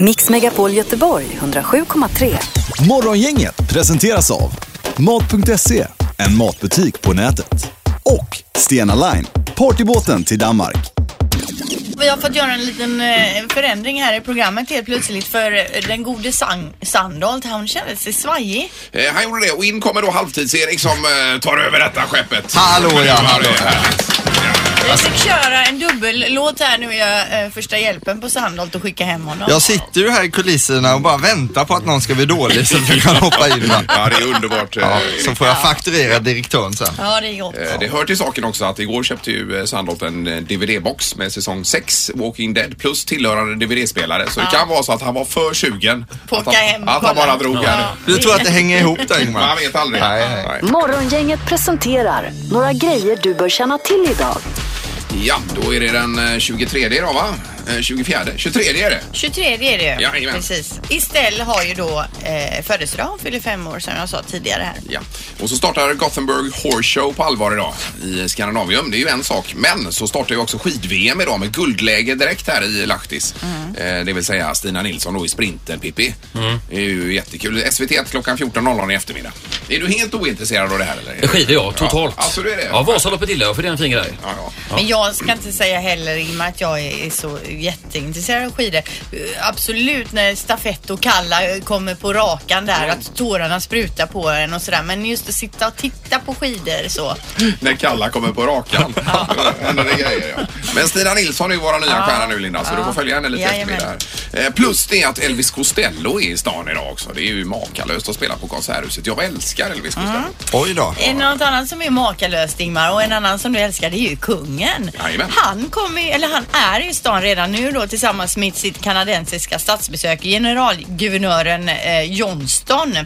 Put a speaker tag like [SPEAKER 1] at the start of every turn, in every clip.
[SPEAKER 1] Mix Megapol Göteborg 107,3.
[SPEAKER 2] Morgongänget presenteras av Mat.se, en matbutik på nätet. Och Stena Line, partybåten till Danmark.
[SPEAKER 3] Vi har fått göra en liten eh, förändring här i programmet helt plötsligt för eh, den gode sang Sandholt, han kände sig svajig.
[SPEAKER 4] Eh, han gjorde det och in kommer då halvtids-Erik som eh, tar över detta skeppet.
[SPEAKER 5] Hallå, ja,
[SPEAKER 4] Men det var
[SPEAKER 5] hallå.
[SPEAKER 4] det härligt.
[SPEAKER 3] Vi
[SPEAKER 4] Alltså-
[SPEAKER 3] fick köra en dubbellåt här nu, jag eh, första hjälpen på Sandholt och skicka hem honom.
[SPEAKER 5] Jag sitter ju här i kulisserna och bara väntar på att någon ska bli dålig så att jag kan hoppa in. Va?
[SPEAKER 4] Ja, det är underbart. eh,
[SPEAKER 5] Ja,
[SPEAKER 4] Erik.
[SPEAKER 5] så får jag fakturera direktören sen.
[SPEAKER 3] Ja, det är gott.
[SPEAKER 4] Eh, Det hör till saken också att igår köpte ju eh, Sandholt en eh, DVD-box med säsong 6, Walking Dead, plus tillhörande DVD-spelare. Så det kan vara så att han var för sugen.
[SPEAKER 3] På
[SPEAKER 4] att han,
[SPEAKER 3] att åka hem och
[SPEAKER 4] att han
[SPEAKER 3] kolla.
[SPEAKER 4] bara drog här.
[SPEAKER 5] Du tror att det hänger ihop där
[SPEAKER 4] Man
[SPEAKER 5] Ingmar?
[SPEAKER 4] vet aldrig.
[SPEAKER 5] Nej, nej.
[SPEAKER 1] Morgongänget presenterar några grejer du bör känna till idag.
[SPEAKER 4] Ja, då är det den eh, 23 idag va? Eh, 24? 23 är det.
[SPEAKER 3] 23 är det ju.
[SPEAKER 4] Jajamän.
[SPEAKER 3] Precis. Estelle har ju då eh, födelsedag, hon fyller fem år som jag sa tidigare här.
[SPEAKER 4] Ja. Och så startar Gothenburg Horse Show på allvar idag i Skandinavium. Det är ju en sak. Men så startar ju också skid-VM idag med guldläge direkt här i Lahtis. Eh, det vill säga Stina Nilsson då i sprinten, Pippi. Det är ju jättekul. SVT klockan 14.00 i eftermiddag. Är du helt ointresserad av det här eller?
[SPEAKER 6] Skidor ja, totalt.
[SPEAKER 4] Ja, alltså det är det.
[SPEAKER 6] Ja, Vasaloppet gillar jag för det är en fin grej.
[SPEAKER 4] Ja, ja.
[SPEAKER 3] Men jag ska inte säga heller Ingmar att jag är så jätteintresserad av skidor. Eh, Absolut när stafett och kalla eh, kommer på rakan där att tårarna sprutar på en och sådär. Men just att sitta och titta på skidor så.
[SPEAKER 4] När Kalla kommer på rakan. Händer det grejer, ja. Men Stina Nilsson är ju vår nya stjärna nu Linda, så du får följa henne lite
[SPEAKER 3] Jajamän.
[SPEAKER 4] eftermiddag här. Eh, Plus det att Elvis Costello är i stan idag också. Det är ju makalöst att spela på Konserthuset. Jag älskar Elvis
[SPEAKER 3] Mm.
[SPEAKER 4] Costello.
[SPEAKER 5] Oj då.
[SPEAKER 3] En något annan som är makalöst Ingmar och en annan som du älskar det är ju kungen.
[SPEAKER 4] Jajamän.
[SPEAKER 3] Han kommer, eller han är i stan redan nu då tillsammans med sitt kanadensiska statsbesök generalguvernören eh, Johnston.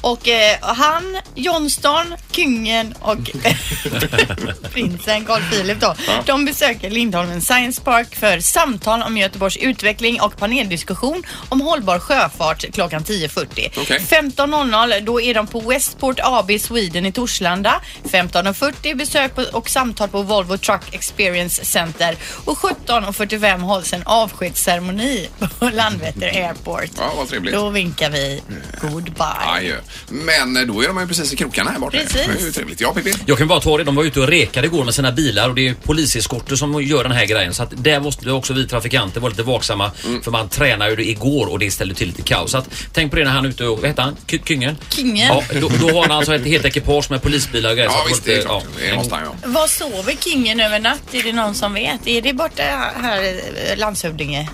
[SPEAKER 3] Och eh, han, Johnston, kungen och prinsen Carl Philip då. De besöker Lindholmen Science Park för samtal om Göteborgs utveckling och paneldiskussion om hållbar sjöfart klockan 10.40.
[SPEAKER 4] Okej.
[SPEAKER 3] 15.00 då är de på Westport AB Sweden i Torslanda. 15.40 besök på, och samtal på Volvo Truck Experience Center. Och 17.45 hålls en avskedsceremoni på Landvetter Airport.
[SPEAKER 4] Ja, vad trevligt.
[SPEAKER 3] Då vinkar vi goodbye.
[SPEAKER 4] Aj, men eh, då är de ju precis i krokarna här borta.
[SPEAKER 3] Precis.
[SPEAKER 4] Det är ju trevligt. Ja, Pippi.
[SPEAKER 6] Jag kan bara ta det, de var ute och rekade igår med sina bilar och det är poliseskorter som gör den här grejen. Så att där måste vi också vi trafikanter vara lite vaksamma.
[SPEAKER 4] Mm.
[SPEAKER 6] För man tränade ju det igår och det ställde till lite kaos. Så att, tänk på det när han är ute och, vad heter han? K- kungen?
[SPEAKER 3] Kingen.
[SPEAKER 6] Ja, då, då har han alltså ett helt ekipage med polisbilar och grejer. så
[SPEAKER 4] Ja,
[SPEAKER 6] att
[SPEAKER 4] visst, det
[SPEAKER 6] folk, ja.
[SPEAKER 4] är klart. Det måste han ju ha.
[SPEAKER 3] Var sover kingen över natt? Är det någon som vet? Är det borta här i landshövdinge?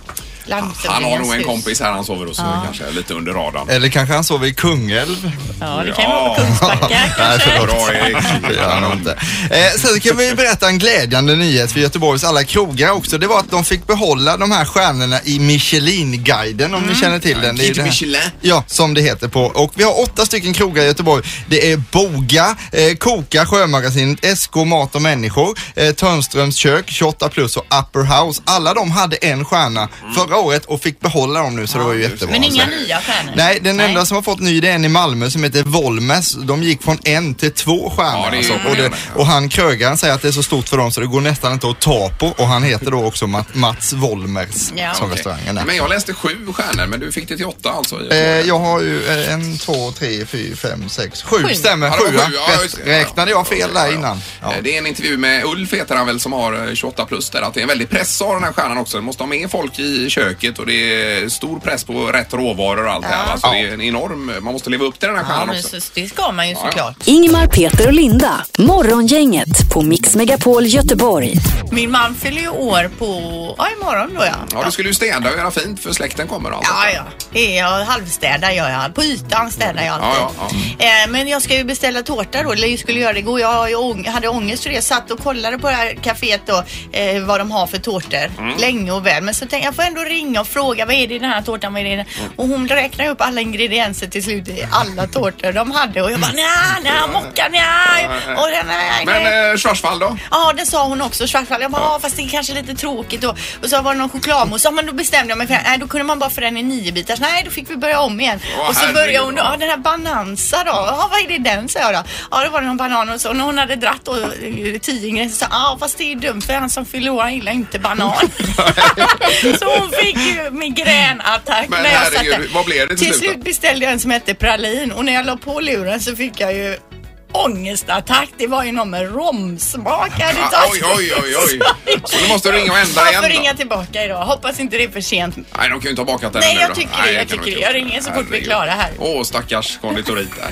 [SPEAKER 4] Han har nog en
[SPEAKER 3] hus?
[SPEAKER 4] kompis här han sover hos kanske, lite under radarn.
[SPEAKER 5] Eller kanske han sover i Kungälv?
[SPEAKER 3] Ja, det kan ju vara på
[SPEAKER 4] Ja.
[SPEAKER 3] Kungsbacka
[SPEAKER 5] Nej,
[SPEAKER 3] kanske.
[SPEAKER 5] förlåt.
[SPEAKER 4] Bra, Erik.
[SPEAKER 5] Det gör han nog inte. Eh, sen kan vi berätta en glädjande nyhet för Göteborgs alla krogar också. Det var att de fick behålla de här stjärnorna i Michelin-guiden om ni känner till den. Det är
[SPEAKER 4] Guide
[SPEAKER 5] det här-
[SPEAKER 4] Michelin.
[SPEAKER 5] Ja, som det heter på. Och vi har åtta stycken krogar i Göteborg. Det är Boga, eh, Koka, Sjömagasinet, SK Mat och Människor, eh, Törnströms kök, 28 plus och Upper House. Alla de hade en stjärna förra året och fick behålla dem nu så Mm. det var ju jättebra.
[SPEAKER 3] Men inga
[SPEAKER 5] Så-
[SPEAKER 3] nya stjärnor?
[SPEAKER 5] Nej, den enda som har fått ny det är en i Malmö som heter Volmes. De gick från en till två stjärnor. alltså.
[SPEAKER 4] Ja, det är ju
[SPEAKER 5] och, det,
[SPEAKER 4] imponerande.
[SPEAKER 5] och han krögaren säger att det är så stort för dem så det går nästan inte att ta på. Och han heter då också Mat, Mats Volmers
[SPEAKER 3] Ja.
[SPEAKER 5] som
[SPEAKER 3] Okej.
[SPEAKER 5] restaurangen är.
[SPEAKER 4] Men jag läste sju stjärnor, men du fick det till åtta alltså? i-
[SPEAKER 5] Eh, jag har ju eh, en, två, tre, fyra, fem, sex, sju.
[SPEAKER 3] Sju.
[SPEAKER 5] Stämmer,
[SPEAKER 4] Ja, det var
[SPEAKER 5] sju. ja.
[SPEAKER 4] sju, ja, just
[SPEAKER 5] Rätt.
[SPEAKER 4] det.
[SPEAKER 5] Räknade jag fel
[SPEAKER 4] Ja,
[SPEAKER 5] där
[SPEAKER 4] ja.
[SPEAKER 5] innan? Ja.
[SPEAKER 4] Eh, Det är en intervju med Ulf heter han väl som har eh, 28 plus där att det är en väldig press av den här stjärnan också. Det måste ha med folk i köket och det är stor press på rätt råvaror och allt det här. va? Så det är en enorm, man måste leva upp till den här
[SPEAKER 3] Ja,
[SPEAKER 4] stjärnan
[SPEAKER 3] men
[SPEAKER 4] också.
[SPEAKER 3] så- det ska man ju såklart.
[SPEAKER 1] Ingmar, Peter och Linda. Morgongänget på Mix Megapol Göteborg.
[SPEAKER 3] Min man fyller ju år på... Ja, imorgon då ja.
[SPEAKER 4] Ja, du skulle ju städa och göra fint för släkten kommer alltså.
[SPEAKER 3] Ja, ja. Det är jag halvstädar gör jag. På ytan städar jag alltid.
[SPEAKER 4] Ja, ja,
[SPEAKER 3] Eh, men jag ska ju beställa tårta då. Eller jag skulle göra det igår. Jag har ju ång- hade ångest för det. Jag satt och kollade på det här caféet då. Eh, vad de har för tårtor.
[SPEAKER 4] Mm.
[SPEAKER 3] Länge och väl. Men så tänkte jag, jag får ändå ringa och fråga vad är det i den här tårtan? Vad är det i den?
[SPEAKER 4] Mm.
[SPEAKER 3] Och hon räknade upp alla ingredienser till slut i alla tårtor de hade. Och jag bara, nja, nja, mocka, nja. Och den här,
[SPEAKER 4] Men eh, Schwarzwald då?
[SPEAKER 3] Ja, det sa hon också. Svartfall. Jag bara, ja. fast det är kanske lite tråkigt då. Och så var det någon chokladmousse. Ja, men då bestämde jag mig för Nej, då kunde man bara få den i nio bitar. Så, Nej, då fick vi börja om igen.
[SPEAKER 4] Åh,
[SPEAKER 3] och så
[SPEAKER 4] herregud.
[SPEAKER 3] började hon, ja den här banansa då. Ja, vad är det den, sa jag då. Ja, då var det någon banan och så. Och när hon hade dratt då eh, tio ingredienser så sa ja, fast det är ju dumt för han som fyller år han gillar inte banan. så hon fick ju migränattack
[SPEAKER 4] Men
[SPEAKER 3] när jag satt
[SPEAKER 4] herregud,
[SPEAKER 3] där.
[SPEAKER 4] vad blev det till
[SPEAKER 3] Till
[SPEAKER 4] slut då?
[SPEAKER 3] slut beställde jag en som hette pralin och när jag la på luren så fick jag ju ångestattack. Det var ju någon med romsmak jag hade
[SPEAKER 4] Ah,
[SPEAKER 3] tagit.
[SPEAKER 4] oj, oj, oj, oj. Så du måste ringa och ändra
[SPEAKER 3] Jag
[SPEAKER 4] igen
[SPEAKER 3] får
[SPEAKER 4] då.
[SPEAKER 3] ringa tillbaka idag. Hoppas inte det är för sent.
[SPEAKER 4] Nej, de kan ju inte ha bakat den
[SPEAKER 3] Nej,
[SPEAKER 4] ännu
[SPEAKER 3] jag
[SPEAKER 4] då.
[SPEAKER 3] tycker det,
[SPEAKER 4] Nej,
[SPEAKER 3] jag
[SPEAKER 4] kan
[SPEAKER 3] tycker
[SPEAKER 4] de inte
[SPEAKER 3] det. Jag
[SPEAKER 4] gjort.
[SPEAKER 3] ringer så fort vi är
[SPEAKER 4] Herregud.
[SPEAKER 3] klara här.
[SPEAKER 4] Åh, stackars konditorit där.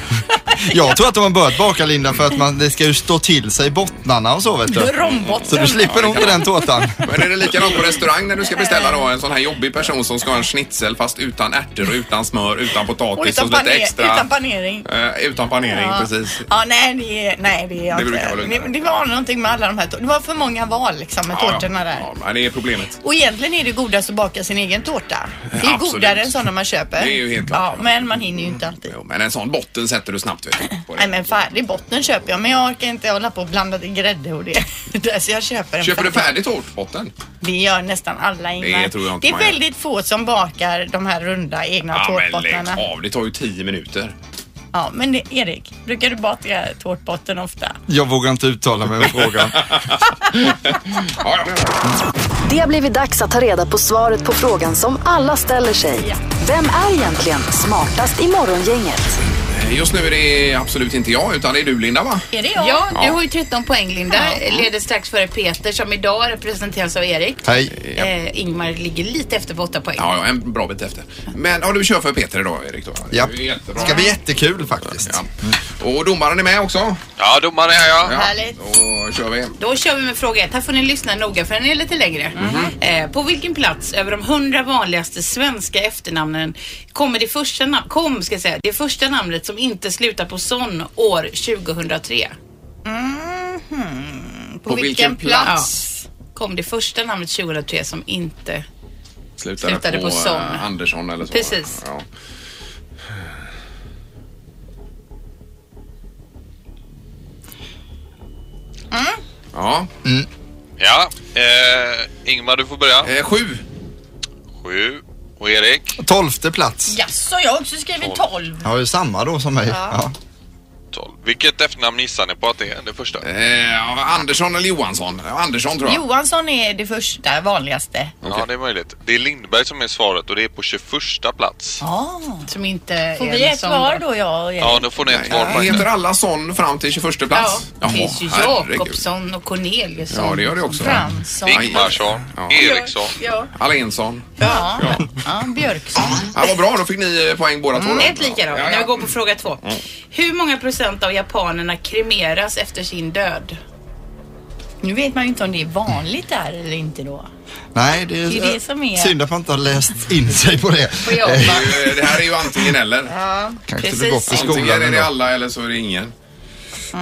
[SPEAKER 5] Jag tror att de har börjat baka Linda för att man, det ska ju stå till sig bottnarna och så vet du.
[SPEAKER 3] Rombotten.
[SPEAKER 5] Så du slipper nog inte den tårtan.
[SPEAKER 4] Men är det likadant på
[SPEAKER 3] Mm.
[SPEAKER 4] restaurang när du ska beställa då en sån här jobbig person som ska ha en schnitzel fast utan ärtor och utan smör, utan
[SPEAKER 3] Och
[SPEAKER 4] potatis
[SPEAKER 3] utan,
[SPEAKER 4] och lite
[SPEAKER 3] paner,
[SPEAKER 4] extra?
[SPEAKER 3] utan panering.
[SPEAKER 4] Eh, utan panering,
[SPEAKER 3] Ja.
[SPEAKER 4] precis.
[SPEAKER 3] Ja, nej, det, är- nej, det är jag
[SPEAKER 4] Det brukar vara
[SPEAKER 3] inte.
[SPEAKER 4] lugnare.
[SPEAKER 3] Det, det var någonting med alla de här tår- Det var för många val liksom med
[SPEAKER 4] Ja,
[SPEAKER 3] tårtorna
[SPEAKER 4] ja.
[SPEAKER 3] där.
[SPEAKER 4] Ja, men det är problemet.
[SPEAKER 3] Och egentligen är det godast att baka sin egen tårta. Det är ju
[SPEAKER 4] Absolut.
[SPEAKER 3] godare än sådana man köper.
[SPEAKER 4] Det är ju helt klart.
[SPEAKER 3] ja, Men man hinner ju inte alltid.
[SPEAKER 4] Jo, men en sån botten sätter du snabbt vet du, på det.
[SPEAKER 3] Nej men färdig botten köper jag men jag orkar inte hålla på och blanda i grädde och det. Där, så jag köper en
[SPEAKER 4] Köper du färdig tårtbotten?
[SPEAKER 3] Det gör nästan alla Ingmar.
[SPEAKER 4] Det tror jag inte
[SPEAKER 3] det är
[SPEAKER 4] man gör.
[SPEAKER 3] väldigt få som bakar de här runda egna
[SPEAKER 4] Ja, men lägg
[SPEAKER 3] tårtbottnarna.
[SPEAKER 4] av. Det tar ju tio minuter.
[SPEAKER 3] Ja men det, Erik, brukar du baka tårtbotten ofta?
[SPEAKER 5] Jag vågar inte uttala mig om frågan.
[SPEAKER 4] Ja, ja.
[SPEAKER 1] Det har blivit dags att ta reda på svaret på frågan som alla ställer sig. Vem är egentligen smartast i morgongänget?
[SPEAKER 4] Just nu är det absolut inte jag, utan det är du Linda va?
[SPEAKER 3] Är det jag?
[SPEAKER 7] Ja, du har ju 13 poäng Linda. Leder strax före Peter som idag representeras av Erik.
[SPEAKER 5] Hej.
[SPEAKER 7] Eh, Ingmar ligger lite efter på 8 poäng.
[SPEAKER 4] Ja, ja, en bra bit efter. Men ja, du kör för Peter idag Erik då? Det
[SPEAKER 5] Ja.
[SPEAKER 4] är ju jättebra.
[SPEAKER 5] Ska bli jättekul faktiskt.
[SPEAKER 4] Ja. Och domaren är med också?
[SPEAKER 8] Ja, domaren är jag.
[SPEAKER 4] Ja.
[SPEAKER 7] Härligt.
[SPEAKER 4] Då kör vi.
[SPEAKER 7] Då kör vi med fråga ett. Här får ni lyssna noga för den är lite längre.
[SPEAKER 3] Mhm.
[SPEAKER 7] Eh, på vilken plats över de 100 vanligaste svenska efternamnen kommer det första, nam- kom, ska jag säga, det första namnet som inte slutar på son år 2003?
[SPEAKER 3] Mhm. På,
[SPEAKER 4] På vilken
[SPEAKER 7] Kom det första namnet 2003 som inte...
[SPEAKER 4] Slutade,
[SPEAKER 7] Slutade på sån.
[SPEAKER 4] eh, Andersson eller så.
[SPEAKER 7] Precis.
[SPEAKER 4] Ja. Ja,
[SPEAKER 8] Ja. Eh, Ingmar, du får börja.
[SPEAKER 4] eh, sju.
[SPEAKER 8] Sju. Och Erik?
[SPEAKER 5] Tolfte plats.
[SPEAKER 3] Jaså, jag har också skrivit 12.
[SPEAKER 5] Jag har ju samma då som mig. Ja.
[SPEAKER 8] Tolv. Vilket efternamn gissar ni på att det är? Det första?
[SPEAKER 4] Eh, ja, Andersson eller Johansson? Ja, Andersson tror jag.
[SPEAKER 3] Johansson är det första vanligaste.
[SPEAKER 8] Ja, det är möjligt. Det är Lindberg som är svaret och det är på 21 plats.
[SPEAKER 7] Som inte
[SPEAKER 3] Får
[SPEAKER 7] är
[SPEAKER 3] vi
[SPEAKER 7] en
[SPEAKER 3] ett
[SPEAKER 7] sån-
[SPEAKER 3] var då jag och Erik?
[SPEAKER 8] Ja, då får ni ett svar på
[SPEAKER 4] Nej,
[SPEAKER 8] en.
[SPEAKER 4] heter alla sån fram till 21
[SPEAKER 7] Ja,
[SPEAKER 4] plats?
[SPEAKER 7] det finns ju
[SPEAKER 4] herregud.
[SPEAKER 7] Jakobsson och Corneliusson.
[SPEAKER 4] Ja, det gör det också.
[SPEAKER 3] Fransson.
[SPEAKER 8] Ingmarsson,
[SPEAKER 4] Ja.
[SPEAKER 8] Eriksson.
[SPEAKER 7] Ja.
[SPEAKER 4] Alénsson.
[SPEAKER 3] Ja. Ja. Björksson.
[SPEAKER 4] Ja, vad bra, då fick ni eh, poäng båda två. då.
[SPEAKER 7] Ett lika då.
[SPEAKER 4] Ja, Mm.
[SPEAKER 7] Nu
[SPEAKER 4] ja.
[SPEAKER 7] går vi på fråga två. Hur många procent av japanerna kremeras efter sin död?
[SPEAKER 3] Nu vet man ju inte om det är vanligt där eller inte då.
[SPEAKER 5] Nej, det är,
[SPEAKER 3] Det är det som är-
[SPEAKER 5] synd att man inte har läst in sig på det.
[SPEAKER 7] Får jag jobba?
[SPEAKER 4] Eh, Det här är ju antingen eller.
[SPEAKER 5] Kanske
[SPEAKER 7] Precis.
[SPEAKER 5] du gått i skolan
[SPEAKER 4] Antingen är det
[SPEAKER 5] ändå.
[SPEAKER 4] alla eller så är det ingen.
[SPEAKER 3] Ja!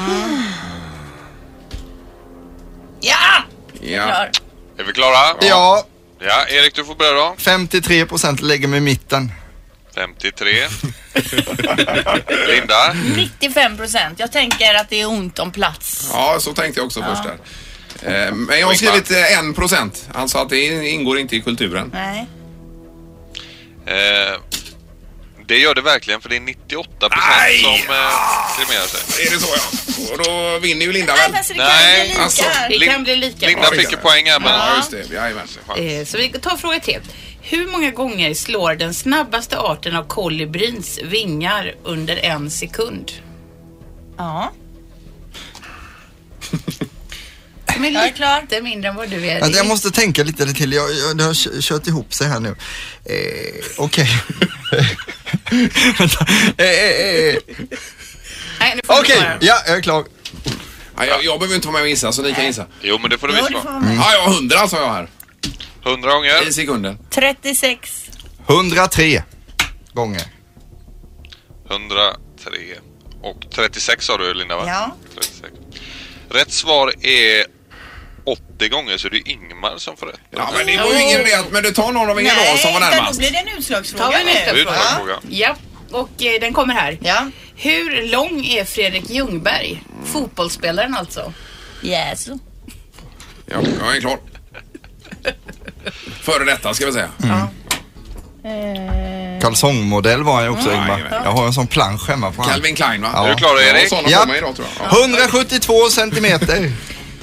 [SPEAKER 4] Ja.
[SPEAKER 3] Klar.
[SPEAKER 8] Är vi klara?
[SPEAKER 5] Ja,
[SPEAKER 8] Ja, Erik, du får börja då.
[SPEAKER 5] 53 procent lägger mig i mitten.
[SPEAKER 8] 53. Linda.
[SPEAKER 3] 95 procent. Jag tänker att det är ont om plats.
[SPEAKER 4] ja, så tänkte jag också först där. Eh, Men jag har skrivit eh, en procent. Han sa att det in- ingår inte i kulturen.
[SPEAKER 3] Nej.
[SPEAKER 8] Eh, det gör det verkligen för det är 98
[SPEAKER 4] Aj!
[SPEAKER 8] procent som eh, kremerar sig.
[SPEAKER 4] Är det så ja? Och då vinner ju Linda
[SPEAKER 3] Nej,
[SPEAKER 4] väl?
[SPEAKER 3] men så det
[SPEAKER 8] Nej,
[SPEAKER 3] kan bli lika.
[SPEAKER 4] alltså.
[SPEAKER 3] här.
[SPEAKER 7] Det
[SPEAKER 8] Lin-
[SPEAKER 7] kan bli lika
[SPEAKER 8] Linda
[SPEAKER 7] bra.
[SPEAKER 8] fick ju poäng här men...
[SPEAKER 4] Ja, just det. Jajamän.
[SPEAKER 7] Eh, Så vi tar fråga tre. Hur många gånger slår den snabbaste arten av kolibrins vingar under en sekund?
[SPEAKER 3] Ja.
[SPEAKER 7] Men
[SPEAKER 3] Jag är klar.
[SPEAKER 7] lite mindre än vad du är.
[SPEAKER 5] Vänta, jag måste tänka lite till. Jag, jag, det har kö- kört ihop sig här nu. Eh, Okej. Vänta. eh, eh, eh.
[SPEAKER 7] Nej, nu får
[SPEAKER 5] Okej,
[SPEAKER 7] du svara.
[SPEAKER 5] ja, jag är klar.
[SPEAKER 4] Ja, jag, jag behöver inte vara med och gissa så ni kan gissa.
[SPEAKER 8] Jo men det får du
[SPEAKER 3] Jo,
[SPEAKER 8] visst
[SPEAKER 3] det får
[SPEAKER 8] vara.
[SPEAKER 3] man med.
[SPEAKER 4] Ja, ja, hundra sa jag här.
[SPEAKER 8] 100
[SPEAKER 4] I
[SPEAKER 8] gånger.
[SPEAKER 4] sekunden.
[SPEAKER 3] 36.
[SPEAKER 5] 103 gånger.
[SPEAKER 8] 103. Och 36 sa du Linda va?
[SPEAKER 3] Ja.
[SPEAKER 8] 36. Rätt svar är 80 gånger så det är Ingmar som får rätt.
[SPEAKER 4] Ja, men det var ju ingen rätt. Men du tar någon av er då som var
[SPEAKER 3] utan då
[SPEAKER 4] närmast.
[SPEAKER 3] blir det en
[SPEAKER 7] Tar
[SPEAKER 3] utslagsfråga
[SPEAKER 8] Det
[SPEAKER 7] vi nästa
[SPEAKER 8] är ju
[SPEAKER 7] fråga?
[SPEAKER 8] en fråga.
[SPEAKER 7] Ja, och eh, den kommer här.
[SPEAKER 3] Ja.
[SPEAKER 7] Hur lång är Fredrik Ljungberg? Fotbollsspelaren alltså.
[SPEAKER 3] Yes.
[SPEAKER 4] Ja, jag är klar. Före detta ska vi säga.
[SPEAKER 5] Kalsongmodell var han ju också Ingmar.
[SPEAKER 4] jajamän.
[SPEAKER 5] Jag har en sån plansch hemma på han.
[SPEAKER 4] Calvin Klein va?
[SPEAKER 5] Ja.
[SPEAKER 8] Är du klar
[SPEAKER 4] Jag har
[SPEAKER 8] Erik?
[SPEAKER 4] såna
[SPEAKER 5] Ja.
[SPEAKER 4] på mig idag tror jag.
[SPEAKER 5] 172 centimeter.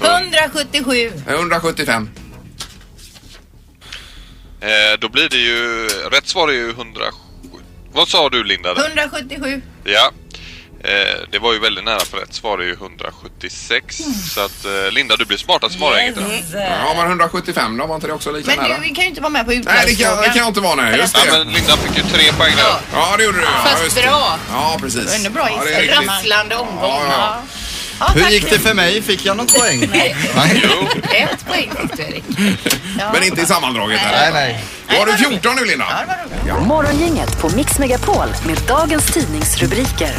[SPEAKER 3] 177.
[SPEAKER 4] Ja. 175.
[SPEAKER 8] Eh, då blir det ju... Rätt svar är ju 107. Vad sa du Linda? där?
[SPEAKER 3] 177.
[SPEAKER 8] Ja. Eh, det var ju väldigt nära för rätt svar är ju 176. Så att eh, Linda, du blir smartast morgongänget idag.
[SPEAKER 4] Ja, men 175 då? Var inte det också lika
[SPEAKER 3] Men
[SPEAKER 4] nära?
[SPEAKER 3] Mm. du, vi kan ju inte vara med på
[SPEAKER 4] Nej, det kan, det kan jag inte vara. Nej, just
[SPEAKER 8] Ja,
[SPEAKER 4] det.
[SPEAKER 8] men Linda fick ju tre poäng där.
[SPEAKER 4] Ja, det gjorde du. Ja,
[SPEAKER 7] Fast
[SPEAKER 4] just det.
[SPEAKER 7] bra.
[SPEAKER 4] Ja, precis.
[SPEAKER 3] Ändå bra
[SPEAKER 4] ja, det är
[SPEAKER 3] inställning.
[SPEAKER 4] riktigt.
[SPEAKER 7] Rasslande omgång.
[SPEAKER 4] Ja, ja.
[SPEAKER 3] Ja,
[SPEAKER 5] Hur
[SPEAKER 3] tack.
[SPEAKER 5] gick det för mig? Fick jag någon poäng? Nej.
[SPEAKER 8] Jo.
[SPEAKER 7] Ett poäng fick du Erik.
[SPEAKER 3] Ja.
[SPEAKER 4] Men inte i sammandraget.
[SPEAKER 5] Nej, nej.
[SPEAKER 4] Då har du 14 nu, Linda.
[SPEAKER 3] Ja, det var roligt.
[SPEAKER 1] Morgongänget på Mix Megapol med dagens tidningsrubriker.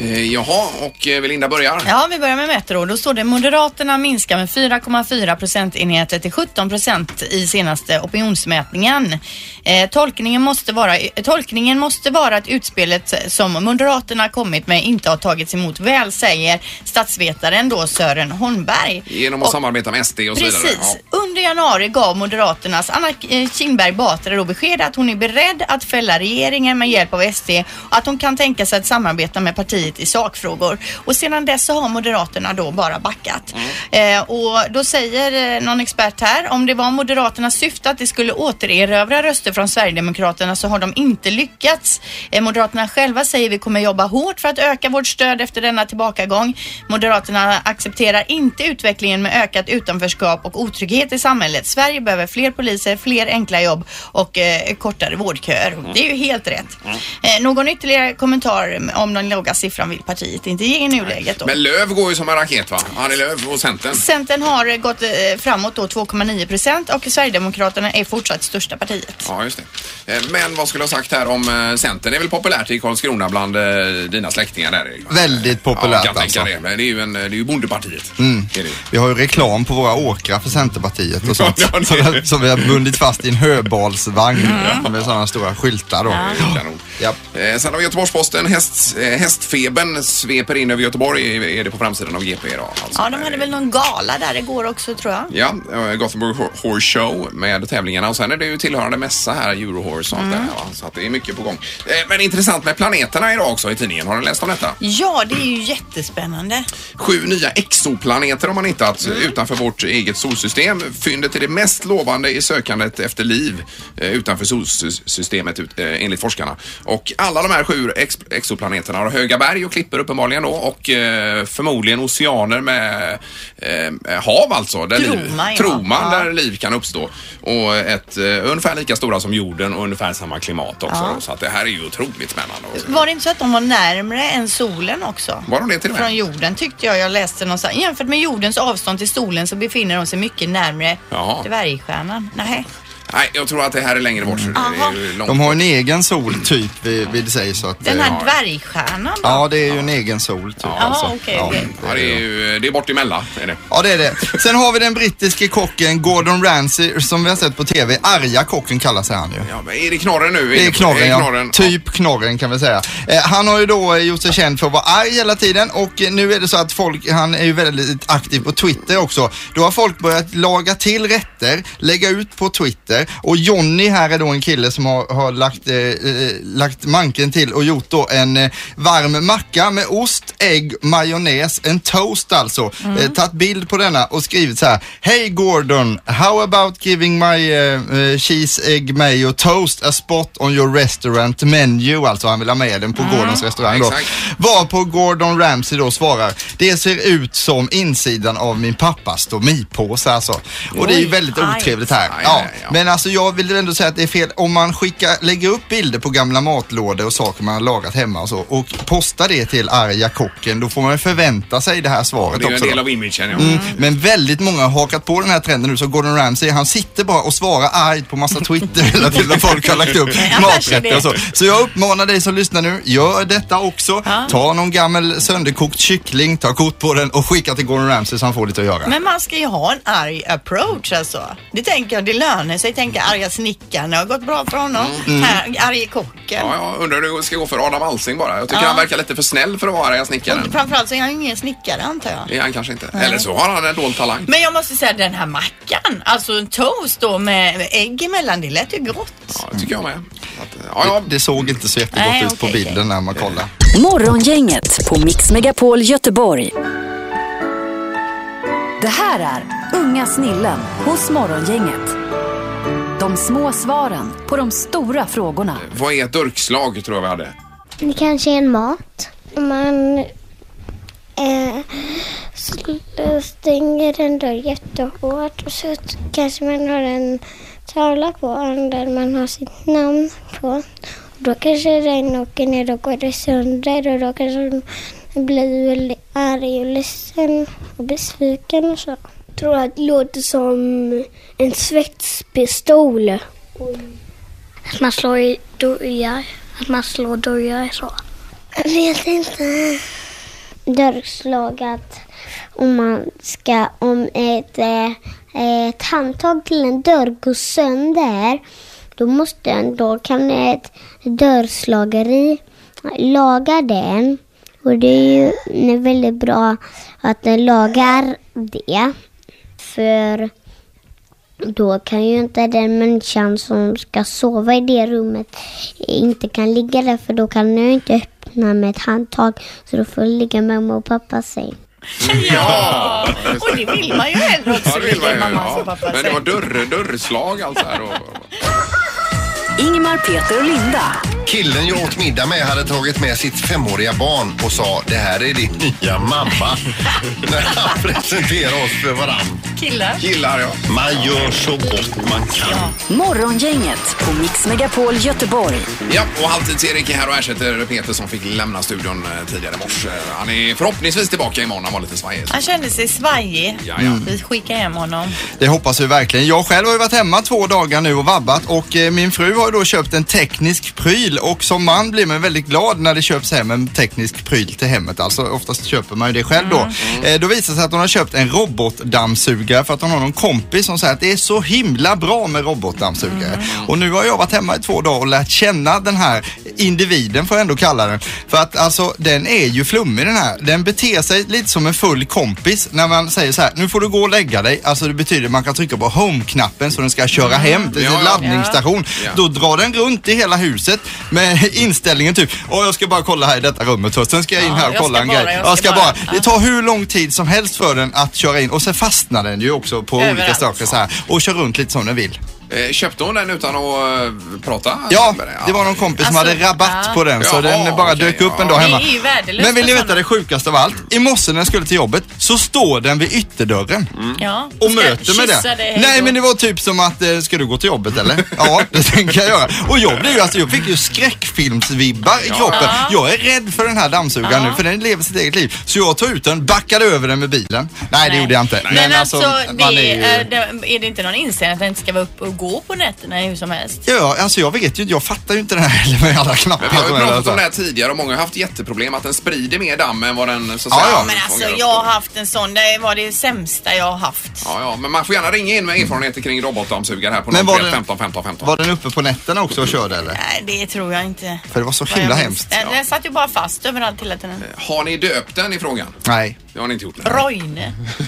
[SPEAKER 4] Eh, Jaha, och eh, Linda börjar.
[SPEAKER 3] Ja, vi börjar med Metro. Då står det Moderaterna minskar med 4,4 procentenheter till 17 procent i senaste opinionsmätningen. Eh, tolkningen, måste vara, eh, tolkningen måste vara att utspelet som Moderaterna kommit med inte har tagits emot väl, säger statsvetaren då Sören Holmberg.
[SPEAKER 4] Genom att
[SPEAKER 3] Och-
[SPEAKER 4] samarbeta med SD och så vidare.
[SPEAKER 3] Precis. Under januari gav Moderaternas Anna eh, Kinberg Batra då besked att hon är beredd att fälla regeringen med hjälp av SD och att hon kan tänka sig att samarbeta med partiet i sakfrågor. Och sedan dess så har Moderaterna då bara backat.
[SPEAKER 4] Mm.
[SPEAKER 3] Eh, och då säger eh, någon expert här, om det var Moderaternas syfte att det skulle återerövra röster från Sverigedemokraterna så har de inte lyckats. Eh, Moderaterna själva säger vi kommer jobba hårt för att öka vårt stöd efter denna tillbakagång. Moderaterna accepterar inte utvecklingen med ökat utanförskap och otrygghet i samhället. Sverige behöver fler poliser, fler enkla jobb och eh, kortare vårdköer.
[SPEAKER 4] Mm.
[SPEAKER 3] Det är ju helt rätt. Eh, någon ytterligare kommentar om den låga siffran vill partiet inte ge i nuläget då?
[SPEAKER 4] Men Löv går ju som en raket, va? Annie Lööf och Centern.
[SPEAKER 3] Centern har eh, gått eh, framåt då 2,9 procent och Sverigedemokraterna är fortsatt största partiet.
[SPEAKER 4] Ja, just det. Eh, Men vad skulle jag ha sagt här om eh, Centern? Det är väl populärt i Karlskrona bland eh, dina släktingar där? Erik, va?
[SPEAKER 5] Väldigt
[SPEAKER 4] Ja, jag
[SPEAKER 5] populärt
[SPEAKER 4] kan tänka
[SPEAKER 5] alltså. Mm.
[SPEAKER 4] det. Men det är ju, en, det är ju bondepartiet. Det är det. ju.
[SPEAKER 5] Vi har ju reklam på våra åkrar för Centerpartiet och sånt.
[SPEAKER 4] Ja, det är det.
[SPEAKER 5] Som- Som vi har bundit fast i en höbalsvagn med sådana stora skyltar då.
[SPEAKER 4] Kanon.
[SPEAKER 5] Japp.
[SPEAKER 4] Eh, sen har vi Göteborgs-Posten. Häst, eh, hästfebern sveper in över Göteborg, är det på framsidan av GP idag. Alltså,
[SPEAKER 3] Ja, de hade
[SPEAKER 4] eh,
[SPEAKER 3] väl någon gala där igår också tror jag.
[SPEAKER 4] Ja, eh, Gothenburg Hor- Horse Show med tävlingarna och sen är det ju tillhörande mässa här, Eurohorse och sånt
[SPEAKER 3] Mm.
[SPEAKER 4] där. va? Så att det är mycket på gång. Eh, Men intressant med planeterna idag också i tidningen. Har du läst om detta?
[SPEAKER 3] Ja, det är ju jättespännande.
[SPEAKER 4] Sju nya exoplaneter har man hittat
[SPEAKER 3] Mm.
[SPEAKER 4] utanför vårt eget solsystem. Fyndet är det mest lovande i sökandet efter liv eh, utanför solsystemet ut- eh, enligt forskarna. Och alla de här sju ex exoplaneterna har höga berg och klippor uppenbarligen då och eh, förmodligen oceaner med eh, hav alltså. Där liv,
[SPEAKER 3] Troma, ja.
[SPEAKER 4] Troma,
[SPEAKER 3] Ja.
[SPEAKER 4] där liv kan uppstå. Och ett eh, ungefär lika stora som jorden och ungefär samma klimat också. Då, så att det här är ju otroligt spännande. att se.
[SPEAKER 3] Var det inte så att de var närmre än solen också?
[SPEAKER 4] Var de det till och med?
[SPEAKER 3] Från jorden tyckte jag jag läste någonstans. Jämfört med jordens avstånd till solen så befinner de sig mycket närmre
[SPEAKER 4] Jaha.
[SPEAKER 3] dvärgstjärnan. Nej.
[SPEAKER 4] Nej, jag tror att det här är längre bort. Det
[SPEAKER 3] Mm. Aha.
[SPEAKER 4] är ju långt
[SPEAKER 5] De har en egen sol typ vid, vid sig så att...
[SPEAKER 3] Den
[SPEAKER 5] eh,
[SPEAKER 3] här dvärgstjärnan då?
[SPEAKER 5] Ja, det är ju en egen sol typ.
[SPEAKER 3] Jaha,
[SPEAKER 5] alltså.
[SPEAKER 3] okej,
[SPEAKER 5] ja,
[SPEAKER 3] okej.
[SPEAKER 4] Ja, det är ju det är bort emellan. Är det.
[SPEAKER 5] Ja, det är det. Sen har vi den brittiske kocken Gordon Ramsay som vi har sett på TV. Arga kocken kallar sig han ju.
[SPEAKER 4] Ja, men är det knorren nu?
[SPEAKER 5] Det är knorren,
[SPEAKER 4] ja.
[SPEAKER 5] ja. Typ knorren kan vi säga. Eh, han har ju då eh, gjort sig känd för att vara arg hela tiden och eh, nu är det så att folk, han är ju väldigt aktiv på Twitter också. Då har folk börjat laga till rätter, lägga ut på Twitter och Jonny här är då en kille som har, har lagt, eh, eh, lagt manken till och gjort då en eh, varm macka med ost, ägg, majonnäs, en toast alltså.
[SPEAKER 4] Mm.
[SPEAKER 5] Eh, tagit bild på denna och skrivit så här. Hey Gordon, how about giving my eh, eh, cheese, egg, mayo toast a spot on your restaurant menu? Alltså han vill ha med den på Gordons restaurang då.
[SPEAKER 4] Mm. Exakt.
[SPEAKER 5] Varpå Gordon Ramsay då svarar. Det ser ut som insidan av min pappas stomipåse alltså. Och det är ju
[SPEAKER 3] Oj,
[SPEAKER 5] väldigt
[SPEAKER 3] aj.
[SPEAKER 5] otrevligt här.
[SPEAKER 4] Aj,
[SPEAKER 5] Ja,
[SPEAKER 4] aj, aj, ja.
[SPEAKER 5] men alltså jag vill ändå säga att det är fel om man skickar, lägger upp bilder på gamla matlådor och saker man har lagat hemma och så och postar det till arga kocken. Då får man ju förvänta sig det här svaret
[SPEAKER 4] Det är ju en
[SPEAKER 5] också.
[SPEAKER 4] del
[SPEAKER 5] då.
[SPEAKER 4] av imagen. Ja.
[SPEAKER 5] Mm, men väldigt många har hakat på den här trenden nu så Gordon Ramsay han sitter bara och svarar argt på massa Twitter hela tiden när folk har lagt upp maträtter och så. Så jag uppmanar dig som lyssnar nu, gör detta också. Ta någon gammal sönderkokt kyckling, ta kort på den och skicka till Gordon Ramsay så han får lite att göra.
[SPEAKER 3] Men man ska ju ha en arg approach alltså. Det tänker jag, det lönar sig. Tänk arga snickaren, det har gått bra för honom. Här, arge kocken.
[SPEAKER 4] Mm. Ja, jag undrar hur det ska gå för Adam Alsing bara. Jag tycker han verkar lite för snäll för att vara arga
[SPEAKER 3] Och
[SPEAKER 4] snickaren.
[SPEAKER 3] framförallt så är han ju ingen snickare antar jag.
[SPEAKER 4] Det är han kanske inte. Eller så har han en dold talang.
[SPEAKER 3] Men jag måste säga den här mackan, alltså en toast då med ägg emellan, det lät ju gott.
[SPEAKER 4] Ja, det tycker jag med. Att, ja, ja.
[SPEAKER 5] Det såg inte så jättegott
[SPEAKER 3] Nej,
[SPEAKER 5] ut på
[SPEAKER 3] okej,
[SPEAKER 5] bilden
[SPEAKER 3] okej.
[SPEAKER 5] när man kollar.
[SPEAKER 1] Morgongänget på Mix Megapol Göteborg. Det här är Unga snillen hos Morgongänget. De små svaren på de stora frågorna.
[SPEAKER 4] Vad är ett durkslag tror jag vi hade?
[SPEAKER 9] Det kanske är en mat. Man eh, sl- stänger en dörr jättehårt och så t- kanske man har en tavla på den där man har sitt namn på. Och då kanske den åker ner och går det sönder och då kanske man blir väldigt arg och ledsen och besviken och så. Jag tror att det låter som en svetspistol. Att man slår i dörrar. Att man slår dörrar så. Jag vet inte. Dörrslagat. Om man ska, om ett, eh, ett handtag till en dörr går sönder. Då måste en, då kan ett dörrslageri laga den. Och det är ju väldigt bra att den lagar det. För då kan ju inte den människan som ska sova i det rummet inte kan ligga där för då kan den ju inte öppna med ett handtag så då får det ligga mamma och pappa sig.
[SPEAKER 3] Ja! Och det vill man ju hellre också.
[SPEAKER 4] det vill man ju.
[SPEAKER 3] mammas och
[SPEAKER 4] Ja.
[SPEAKER 3] pappas
[SPEAKER 4] Men det var
[SPEAKER 3] säng.
[SPEAKER 4] dörr, dörrslag alltså här. Och,
[SPEAKER 1] Ingmar, Peter och Linda.
[SPEAKER 10] Killen jag åt middag med hade tagit med sitt femåriga barn och sa det här är din nya mamma. När han presenterade oss för varann.
[SPEAKER 3] Killar.
[SPEAKER 4] Killar ja.
[SPEAKER 10] Man gör så gott man kan.
[SPEAKER 1] Morgongänget på Mix Megapol Göteborg.
[SPEAKER 4] Ja, och Halvtids-Erik är här och ersätter Peter som fick lämna studion eh, tidigare i morse. Han är förhoppningsvis tillbaka imorgon. Han var lite svajig.
[SPEAKER 3] Han kände sig svajig.
[SPEAKER 4] Ja, Mm. ja.
[SPEAKER 3] Vi skickar hem honom.
[SPEAKER 5] Det hoppas vi verkligen. Jag själv har ju varit hemma två dagar nu och vabbat och eh, min fru har ju då köpt en teknisk pryl och som man blir man väldigt glad när det köps hem en teknisk pryl till hemmet. Alltså oftast köper man ju det själv då. Eh, då visar det sig att hon har köpt en robotdammsugare för att hon har någon kompis som säger att det är så himla bra med robotdammsugare. Och nu har jag varit hemma i två dagar och lärt känna den här individen får jag ändå kalla den. För att alltså den är ju flummig den här. Den beter sig lite som en full kompis när man säger så här, nu får du gå och lägga dig. Alltså det betyder att man kan trycka på home-knappen så den ska köra
[SPEAKER 3] Mm.
[SPEAKER 5] hem till sin
[SPEAKER 4] Ja, ja.
[SPEAKER 5] laddningsstation.
[SPEAKER 4] Ja.
[SPEAKER 5] Då drar den runt i hela huset med inställningen typ, åh jag ska bara kolla här i detta rummet först, sen ska jag in
[SPEAKER 3] Ja,
[SPEAKER 5] här och
[SPEAKER 3] jag
[SPEAKER 5] kolla
[SPEAKER 3] ska
[SPEAKER 5] en
[SPEAKER 3] bara,
[SPEAKER 5] grej.
[SPEAKER 3] jag
[SPEAKER 5] Jag
[SPEAKER 3] ska
[SPEAKER 5] ska bara.
[SPEAKER 3] bara.
[SPEAKER 5] Det tar hur lång tid som helst för den att köra in och sen fastnar den ju också på olika
[SPEAKER 3] Överallt.
[SPEAKER 5] saker så här och kör runt lite som den vill.
[SPEAKER 4] Eh, Köpte hon den utan att eh, prata?
[SPEAKER 5] Ja,
[SPEAKER 4] med dig?
[SPEAKER 5] det var någon kompis som
[SPEAKER 3] Alltså,
[SPEAKER 5] hade rabatt
[SPEAKER 3] ja.
[SPEAKER 5] på den så
[SPEAKER 4] Jaha,
[SPEAKER 5] den bara
[SPEAKER 4] okej,
[SPEAKER 5] dök upp en
[SPEAKER 4] ja.
[SPEAKER 5] dag hemma.
[SPEAKER 3] Det är ju värdelöst
[SPEAKER 5] Men vill ni
[SPEAKER 3] för
[SPEAKER 5] veta det sjukaste av allt? I morse när jag skulle till jobbet så står den vid ytterdörren
[SPEAKER 4] Mm.
[SPEAKER 3] Ja.
[SPEAKER 5] och
[SPEAKER 3] Ska
[SPEAKER 5] möter mig
[SPEAKER 3] kyssa
[SPEAKER 5] där.
[SPEAKER 3] dig, hej
[SPEAKER 5] Nej
[SPEAKER 3] då.
[SPEAKER 5] men det var typ som att, eh, ska du gå till jobbet eller? Ja, det tänker jag göra. Och jag blev ju, alltså jag fick ju skräckfilmsvibbar i kroppen. Jag är rädd för den här dammsugaren nu för den lever sitt eget liv. Så jag tog ut den, backade över den med bilen. Nej det gjorde jag inte.
[SPEAKER 3] Men, alltså, det,
[SPEAKER 5] man
[SPEAKER 3] är,
[SPEAKER 5] ju-
[SPEAKER 3] det, är det inte någon inställning att den inte ska vara uppe och gå på nätterna hur som helst?
[SPEAKER 5] Ja, alltså jag vet ju inte, jag fattar ju inte den här med alla knappar
[SPEAKER 4] Men vi har ju
[SPEAKER 5] som är där,
[SPEAKER 4] pratat
[SPEAKER 5] så.
[SPEAKER 4] om det här tidigare och många har haft jätteproblem att den sprider mer damm än vad den så att
[SPEAKER 5] Ja,
[SPEAKER 4] säga,
[SPEAKER 5] ja.
[SPEAKER 3] Men alltså
[SPEAKER 4] fångar upp.
[SPEAKER 3] jag har haft en sån, det var det sämsta jag har haft.
[SPEAKER 4] Ja, ja, men man får gärna ringa in med erfarenheter kring robotdammsugare här på
[SPEAKER 5] Men var
[SPEAKER 4] 031
[SPEAKER 5] det-
[SPEAKER 4] 15 15 15.
[SPEAKER 5] Var den uppe på nätterna också och körde eller?
[SPEAKER 3] Nej, det tror jag inte.
[SPEAKER 5] För det var så
[SPEAKER 3] Vad jag
[SPEAKER 5] himla
[SPEAKER 3] minns.
[SPEAKER 5] hemskt.
[SPEAKER 3] Den, den satt ju bara fast överallt hela tiden.
[SPEAKER 4] Har ni döpt den i frågan?
[SPEAKER 5] Nej,
[SPEAKER 4] Det har ni inte gjort. nej.
[SPEAKER 3] Roine,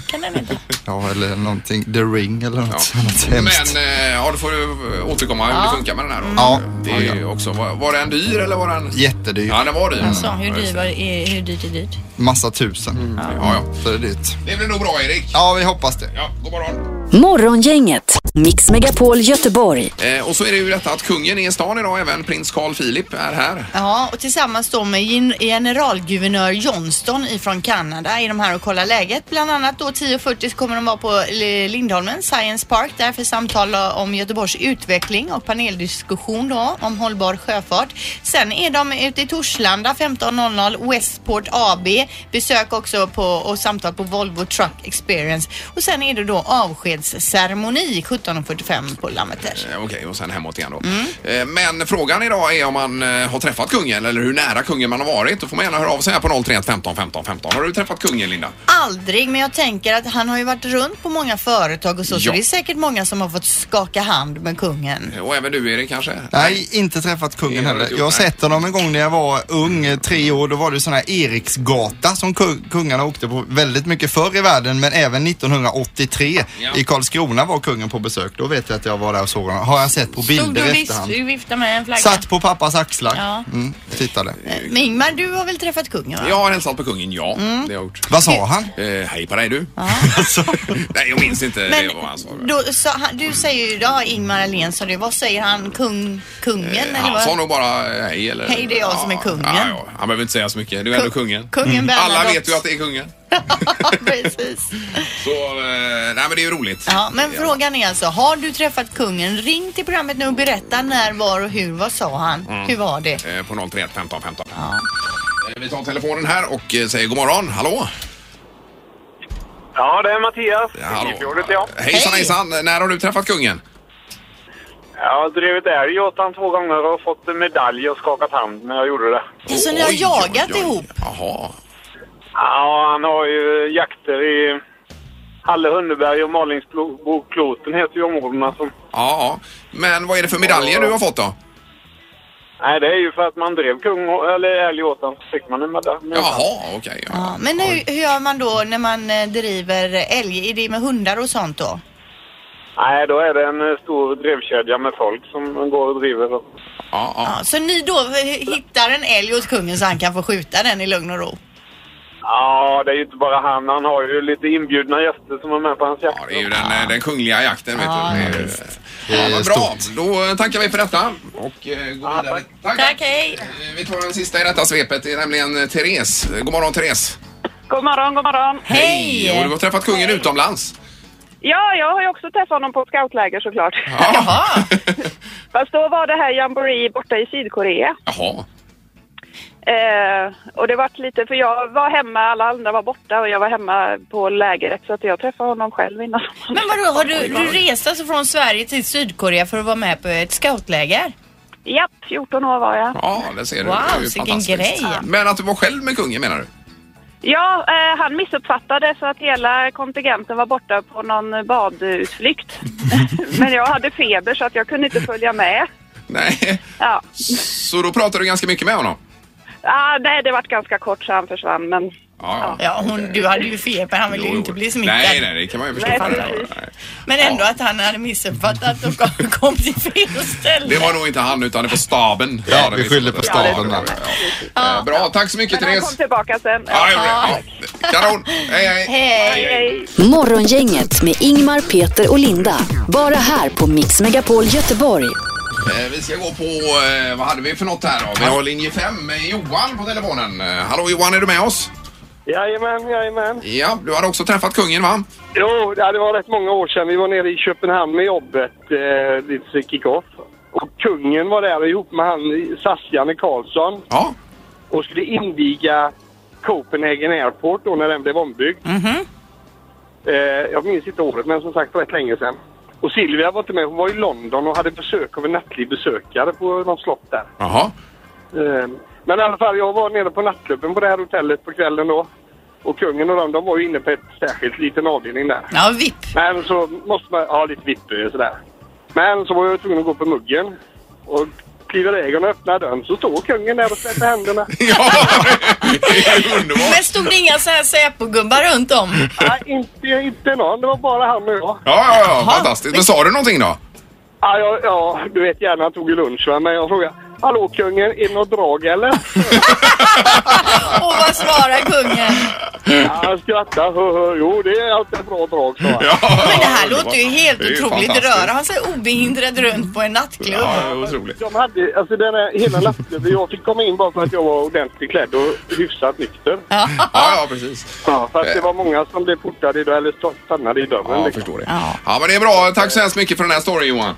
[SPEAKER 3] kan den heta.
[SPEAKER 5] ja eller någonting, The Ring eller något annat hemskt.
[SPEAKER 4] Men eh, ja, då får du eh, återkomma hur det funkar med den här då.
[SPEAKER 5] Ja.
[SPEAKER 4] Det är ju också, var, var den dyr eller var den?
[SPEAKER 5] Jättedyrt,
[SPEAKER 4] Ja, den var dyr.
[SPEAKER 3] Så, Alltså, hur dyrt var är- hur dyrt är dyrt?
[SPEAKER 5] massa tusen.
[SPEAKER 4] Mm. Ja, ja.
[SPEAKER 5] Så det är dyrt.
[SPEAKER 4] Det blir nog bra Erik.
[SPEAKER 5] Ja, vi hoppas det.
[SPEAKER 4] Ja, god morgon.
[SPEAKER 1] Morgongänget, Mix Megapol Göteborg.
[SPEAKER 4] Eh, och så är det ju detta att kungen är i stan idag, även prins Carl Philip är här.
[SPEAKER 3] Ja, och tillsammans då med gen- generalguvernör Johnston ifrån Kanada är de här och kollar läget. Bland annat då 10.40 så kommer de vara på L- Lindholmen Science Park där för samtal om Göteborgs utveckling och paneldiskussion då om hållbar sjöfart. Sen är de ute i Torslanda 15.00 Westport AB. Besök också på och samtal på Volvo Truck Experience. Och sen är det då avskedsceremoni 17.45 på Lammeter.
[SPEAKER 4] Eh, Okej, och sen hemåt igen då.
[SPEAKER 3] Mm.
[SPEAKER 4] Eh, Men frågan idag är om man eh, har träffat kungen eller hur nära kungen man har varit. Då får man gärna höra av sig här på 031 15 15 15. Har du träffat kungen Linda?
[SPEAKER 3] Aldrig, men jag tänker att han har ju varit runt på många företag och så, så
[SPEAKER 4] Ja.
[SPEAKER 3] det är säkert många som har fått skaka hand med kungen.
[SPEAKER 4] Och även du Erik kanske?
[SPEAKER 5] Nej, inte träffat kungen
[SPEAKER 4] Det har du
[SPEAKER 5] heller.
[SPEAKER 4] inte gjort,
[SPEAKER 5] Jag har
[SPEAKER 4] nej.
[SPEAKER 5] sett honom en gång när jag var ung, eh, tre år. Då var det sån här Eriksgata som ku- kungarna åkte på väldigt mycket förr i världen. Men även 1983
[SPEAKER 4] Ja.
[SPEAKER 5] i Karlskrona var kungen på besök. Då vet jag att jag var där och såg honom. Har jag sett på
[SPEAKER 3] Stod du
[SPEAKER 5] bilder
[SPEAKER 3] och
[SPEAKER 5] efterhand.
[SPEAKER 3] vis- viftade med en flagga?
[SPEAKER 5] Satt på pappas axlar.
[SPEAKER 3] Ja.
[SPEAKER 5] Mm, tittade.
[SPEAKER 3] Men Ingmar, du har väl träffat kungen? Va?
[SPEAKER 4] Jag har hälsat på kungen, ja.
[SPEAKER 3] Mm.
[SPEAKER 4] Det har jag gjort.
[SPEAKER 5] Vad sa han?
[SPEAKER 4] Eh, hej på dig du. Alltså, Nej, jag minns inte det vad han sa.
[SPEAKER 3] då, så, han, du säger ju idag Ingmar Ahlén sa du. Vad säger han? Kung, kungen
[SPEAKER 4] Eh,
[SPEAKER 3] eller
[SPEAKER 4] Han
[SPEAKER 3] vad?
[SPEAKER 4] sa nog bara eh, hej eller...
[SPEAKER 3] Hej, det är jag som är kungen.
[SPEAKER 4] Ja, ja. Han behöver inte säga så mycket. Du är ändå kungen. Mm.
[SPEAKER 3] Kungen
[SPEAKER 4] Alla
[SPEAKER 3] Bernadotte.
[SPEAKER 4] vet ju att det är kungen.
[SPEAKER 3] Precis.
[SPEAKER 4] Så, eh, nej men det är ju roligt.
[SPEAKER 3] Ja, men frågan är alltså, har du träffat kungen? Ring till programmet nu och berätta när, var och hur. Vad sa han? Hur var det?
[SPEAKER 4] Eh, På 031 15 15. Eh, Vi tar telefonen här och eh, säger god morgon. Hallå!
[SPEAKER 11] Ja, det är Mattias.
[SPEAKER 4] Hallå.
[SPEAKER 11] Fjordet, ja.
[SPEAKER 4] Hejsan
[SPEAKER 3] Hej.
[SPEAKER 4] hejsan! När har du träffat kungen?
[SPEAKER 11] Jag har drivit älg åt han två gånger och fått en medalj och skakat hand när jag gjorde det.
[SPEAKER 3] Så ni har
[SPEAKER 4] Oj,
[SPEAKER 3] jagat
[SPEAKER 4] oj, oj.
[SPEAKER 3] ihop?
[SPEAKER 4] Jaha.
[SPEAKER 11] Ja, han har ju jakter i Halle Hundeberg och Malingsbokloten heter ju områdena som...
[SPEAKER 4] Ja, ja. Men vad är det för medaljer du har fått då?
[SPEAKER 11] Nej, det är ju för att man drev kung och- eller älg åt han så fick man en medalj.
[SPEAKER 4] Jaha, okej. ja.
[SPEAKER 3] Ja, men hur, hur gör man då när man eh, driver älg? Är det med hundar och sånt då?
[SPEAKER 11] Nej, då är det en eh, stor drevkedja med folk som går och driver. och-
[SPEAKER 4] Ja, ja.
[SPEAKER 3] Ja, så ni då eh, hittar en älg åt kungen så han kan få skjuta den i lugn och ro?
[SPEAKER 11] Ja, det är ju inte bara han. Han har ju lite inbjudna gäster som är med på hans jakt.
[SPEAKER 4] Ja, det är ju den, eh, den kungliga jakten, vet
[SPEAKER 3] Ja,
[SPEAKER 4] du. Det är ju- Ja, men bra, då eh, tackar vi för detta och eh, går vidare. Tack.
[SPEAKER 3] Tack, hej!
[SPEAKER 4] Eh, Vi tar den sista i detta svepet, det är nämligen eh, Therese. Eh, God morgon Therese!
[SPEAKER 11] God morgon, god morgon.
[SPEAKER 4] Och du
[SPEAKER 3] Hej!
[SPEAKER 4] har träffat kungen utomlands.
[SPEAKER 11] Ja, jag har ju också träffat honom på scoutläger såklart.
[SPEAKER 4] Jaha!
[SPEAKER 11] Fast då var det här jamboree borta i Sydkorea.
[SPEAKER 4] Jaha.
[SPEAKER 11] Eh, och det vart lite, för jag var hemma, alla andra var borta och jag var hemma på lägret så att jag träffade honom själv innan.
[SPEAKER 3] Men vadå, har du, du rest alltså från Sverige till Sydkorea för att vara med på ett scoutläger?
[SPEAKER 11] Japp, 14 år var jag.
[SPEAKER 4] Ja, det ser du.
[SPEAKER 3] Wow,
[SPEAKER 4] Det är ju
[SPEAKER 3] vilken
[SPEAKER 4] fantastiskt.
[SPEAKER 3] grej.
[SPEAKER 4] Men att du var själv med kungen menar du?
[SPEAKER 11] Ja, eh, han missuppfattade så att hela kontingenten var borta på någon badutflykt. Men jag hade feber så att jag kunde inte följa med.
[SPEAKER 4] Nej.
[SPEAKER 11] Ja.
[SPEAKER 4] Så då pratade du ganska mycket med honom?
[SPEAKER 11] Ah, nej, det vart ganska kort så han försvann men
[SPEAKER 4] Ja,
[SPEAKER 3] Ja, hon, du hade ju feber, han ville
[SPEAKER 4] Jo,
[SPEAKER 3] ju
[SPEAKER 4] jo.
[SPEAKER 3] inte bli smittad.
[SPEAKER 4] Nej, nej, det kan man ju förstå.
[SPEAKER 11] Nej,
[SPEAKER 4] för det.
[SPEAKER 11] precis.
[SPEAKER 4] Nej.
[SPEAKER 3] Men ändå att han hade missuppfattat och kom, kom till fel ställe.
[SPEAKER 4] Det var nog inte han utan det var staben.
[SPEAKER 5] Ja,
[SPEAKER 4] det
[SPEAKER 5] vi
[SPEAKER 4] visste
[SPEAKER 5] skyller
[SPEAKER 4] jag.
[SPEAKER 5] på staben
[SPEAKER 4] Ja,
[SPEAKER 5] där.
[SPEAKER 4] det tror jag. Eh, Bra, tack så mycket
[SPEAKER 11] Men han kom
[SPEAKER 4] Therese.
[SPEAKER 11] tillbaka sen.
[SPEAKER 4] Ja, jag gjorde det. Ja. Kanon! Hej, hej!
[SPEAKER 3] Hej!
[SPEAKER 1] Morgongänget med Ingmar, Peter och Linda. Bara här på Mix Megapol Göteborg.
[SPEAKER 4] Eh, Vi ska gå på, eh, vad hade vi för något här då? Vi har linje 5 med Johan på telefonen. Eh, Hallå Johan, är du med oss?
[SPEAKER 11] Jajamän, jajamän.
[SPEAKER 4] Ja, du hade också träffat kungen va?
[SPEAKER 11] Jo, ja, det var rätt många år sedan. Vi var nere i Köpenhamn med jobbet, eh, lite kick-off. Och kungen var där ihop med han SAS-Janne Karlsson
[SPEAKER 4] Ja.
[SPEAKER 11] och skulle inviga Copenhagen Airport då när den blev ombyggd. eh, jag minns inte året, men som sagt det var rätt länge sedan. Och Silvia var inte med. Hon var i London och hade besök av en nattlig besökare på någon slott där.
[SPEAKER 4] Jaha.
[SPEAKER 11] Eh, Men i alla fall, jag var nere på nattklubben på det här hotellet på kvällen då. Och kungen och de, de var ju inne på ett särskilt liten avdelning där.
[SPEAKER 3] Ja, vipp.
[SPEAKER 11] Men så måste man, ja lite vippig och sådär. Men så var jag tvungen att gå på muggen. Och kliver iväg och öppnar dörren så står kungen där och släpper händerna.
[SPEAKER 4] Ja, det är ju underbart.
[SPEAKER 3] Men stod det inga så här säpogubbar runt om?
[SPEAKER 11] Nej, inte, inte någon. Det var bara han och jag.
[SPEAKER 4] Ja, ja, ja, fantastiskt. Men sa du någonting då?
[SPEAKER 11] Ja, ja, ja du vet gärna han tog ju lunch va? men jag frågade. Hallå kungen, är det något drag eller?
[SPEAKER 3] Och vad svarar kungen?
[SPEAKER 11] Ja, han skrattade. "Hö, hö, Jo, det är alltid ett bra drag, sa han.
[SPEAKER 4] Ja,
[SPEAKER 3] Men det här
[SPEAKER 4] underbart.
[SPEAKER 3] låter ju helt
[SPEAKER 4] Det är
[SPEAKER 3] otroligt.
[SPEAKER 4] fantastiskt.
[SPEAKER 3] Rör han sig obehindrat runt på en nattklubb?
[SPEAKER 4] Ja, det är otroligt.
[SPEAKER 11] De hade, alltså den här, hela nattklubben, jag fick komma in bara för att jag var ordentligt klädd och hyfsat nykter.
[SPEAKER 4] Ja, ja, precis.
[SPEAKER 11] Ja, för att det var många som blev portade i dörren, eller stannade i dörren.
[SPEAKER 4] Ja, jag
[SPEAKER 11] liksom.
[SPEAKER 4] förstår det. Ja, men det är bra. Tack så hemskt mycket för den här storyn Johan.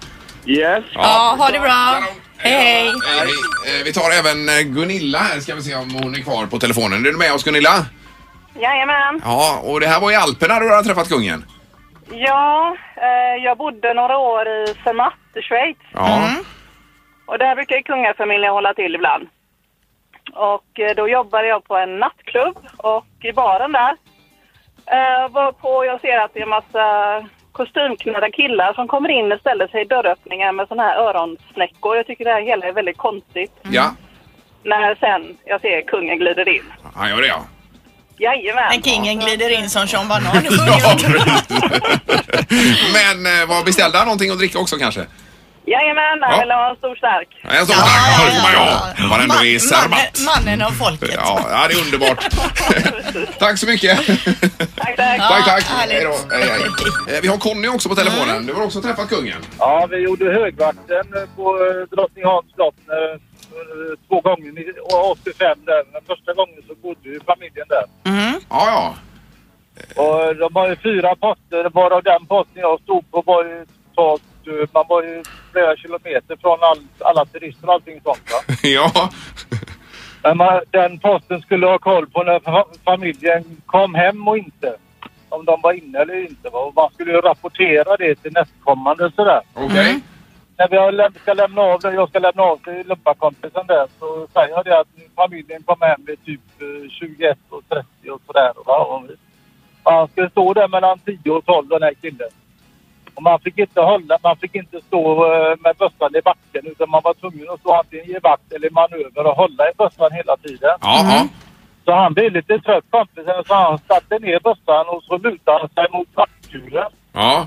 [SPEAKER 11] Yes.
[SPEAKER 3] Ja, ha det bra. Hej,
[SPEAKER 4] Hej, hej. Eh, Vi tar även eh, Gunilla här, ska vi se om hon är kvar på telefonen. Är du med oss Gunilla?
[SPEAKER 11] Jajamän.
[SPEAKER 4] Ja, och det här var i Alperna du hade träffat kungen.
[SPEAKER 11] Ja, eh, jag bodde några år i Zermatt i Schweiz.
[SPEAKER 4] Ja, Mm.
[SPEAKER 11] Och där brukar ju kungafamiljen hålla till ibland. Och eh, då jobbade jag på en nattklubb och i baren där. Eh, var på jag ser att det är en massa kostymklädda killar som kommer in och ställer sig i dörröppningar med såna här öronsnäckor. Jag tycker det här hela är väldigt konstigt.
[SPEAKER 4] ja.
[SPEAKER 11] När sen jag ser kungen glider in.
[SPEAKER 4] Han gör det ja.
[SPEAKER 11] Jajamän.
[SPEAKER 3] När kingen glider in som Sean Banan.
[SPEAKER 4] Men eh, vad beställde han någonting att dricka också kanske?
[SPEAKER 11] Jajamän, jag vill ha en stor stark.
[SPEAKER 4] En sån här, ja, ja, ja. Var ändå i Zermatt.
[SPEAKER 3] Mannen av folket.
[SPEAKER 4] Ja, ja, det är underbart. tack så mycket.
[SPEAKER 11] Tack, tack.
[SPEAKER 4] tack, tack.
[SPEAKER 3] härligt.
[SPEAKER 4] Hej då. Hej, hej. Eh, Vi har Conny också på
[SPEAKER 11] Mm.
[SPEAKER 4] telefonen. Du har också träffat kungen.
[SPEAKER 12] Ja, vi gjorde högvakten eh, på eh, Drottningholms slott eh, eh, två gånger, i- och 85 där. Den första gången så bodde ju familjen där.
[SPEAKER 4] Ja, ja.
[SPEAKER 12] Och eh, de har ju fyra poster, varav den posten jag stod på var ju totalt, eh, man var ju flera kilometer från all, alla turister och allting sånt va.
[SPEAKER 4] Ja,
[SPEAKER 12] Men man, den posten skulle ha koll på när fa- familjen kom hem och inte. Om de var inne eller inte. va. Och man skulle ju rapportera det till nästkommande sådär.
[SPEAKER 4] okej.
[SPEAKER 11] Mm.
[SPEAKER 12] När vi har läm- ska lämna av det, jag ska lämna av till lumparkompisen där så säger jag det att familjen kommer hem vid typ eh, 21 och 30 och sådär. Va? Och vi- Man skulle stå där mellan 10 och 12 den här killen. Och man fick inte hålla, man fick inte stå eh, med bössan i backen utan man var tvungen att stå antingen i vakt eller i manöver och hålla i bössan hela tiden.
[SPEAKER 4] Ja,
[SPEAKER 11] Mm.
[SPEAKER 4] ja.
[SPEAKER 12] Så han blev lite trött kompisen så han satte ner bössan och så lutade han sig mot backkulen
[SPEAKER 4] ja.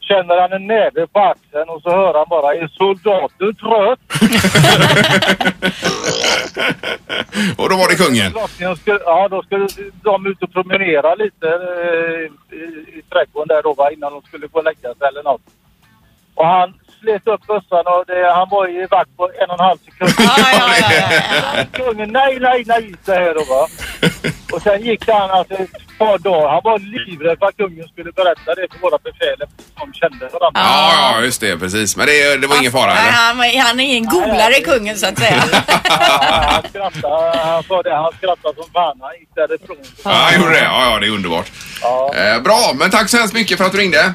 [SPEAKER 12] känner han en näve på axeln och så hör han bara är soldaten trött?
[SPEAKER 4] Och då var det kungen.
[SPEAKER 12] Drottningen skulle- Ja, då skulle de ut och promenera lite eh, i, i trädgården där då va, innan de skulle gå och lägga sig eller något. Och han slet upp bössan och det, han var ju i vakt på en och en halv sekund.
[SPEAKER 3] Ja, ja, ja, ja.
[SPEAKER 12] Kungen, nej, nej, nej, så här då va. Och sen gick han alltså ett par dagar. Han var livrädd för att kungen skulle berätta det för våra befäl eftersom de kände varandra.
[SPEAKER 4] Ja, ja, just det. Precis. Men det, det var ingen fara,
[SPEAKER 3] Nej,
[SPEAKER 4] eller?
[SPEAKER 3] han, var- han är ingen golare kungen så att säga.
[SPEAKER 12] Ja, han skrattade, han sa det, han skrattade som fan. Han gick därifrån.
[SPEAKER 4] Ja, jag gjorde det. Ja, ja, det är underbart. Eh, bra, men tack så hemskt mycket för att du ringde.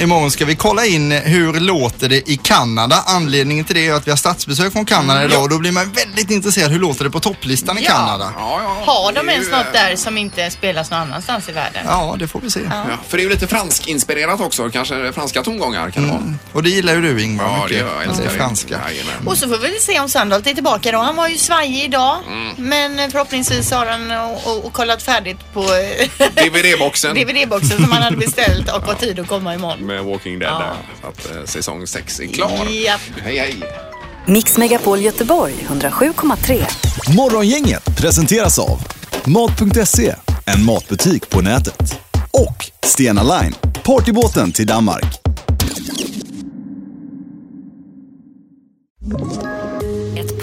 [SPEAKER 5] Imorgon ska vi kolla in hur låter det i Kanada. Anledningen till det är att vi har statsbesök från Kanada idag och då blir man väldigt intresserad. Hur låter det på topplistan i
[SPEAKER 3] Ja.
[SPEAKER 5] Kanada?
[SPEAKER 4] Mm. Ja, ja,
[SPEAKER 3] Har de
[SPEAKER 4] det är
[SPEAKER 3] ens
[SPEAKER 4] ju,
[SPEAKER 3] något
[SPEAKER 4] eh,
[SPEAKER 3] där som inte spelas någon annanstans i världen?
[SPEAKER 5] Ja, det får vi se.
[SPEAKER 4] eh, Ja, för det är ju lite franskinspirerat också. Kanske franska tongångar kan det vara.
[SPEAKER 5] Och det gillar ju du Ingvar
[SPEAKER 4] Ja, det
[SPEAKER 5] mycket.
[SPEAKER 4] gör jag. Älskar
[SPEAKER 5] det
[SPEAKER 4] det.
[SPEAKER 5] franska.
[SPEAKER 4] Jajamän.
[SPEAKER 3] Och så får vi väl se om Sandholt är tillbaka då. Han var ju svajig idag. Men eh, förhoppningsvis har han och, och, och kollat färdigt på eh,
[SPEAKER 4] DVD-boxen.
[SPEAKER 3] DVD-boxen som han hade beställt och var tid att komma imorgon.
[SPEAKER 4] med Walking Dead där. Så att eh, säsong 6 är klar.
[SPEAKER 3] Japp.
[SPEAKER 4] Hej, hej.
[SPEAKER 1] Mix Megapol Göteborg 107,3.
[SPEAKER 2] Morgongänget presenteras av Mat.se, en matbutik på nätet. Och Stena Line, partybåten till Danmark.
[SPEAKER 1] Ett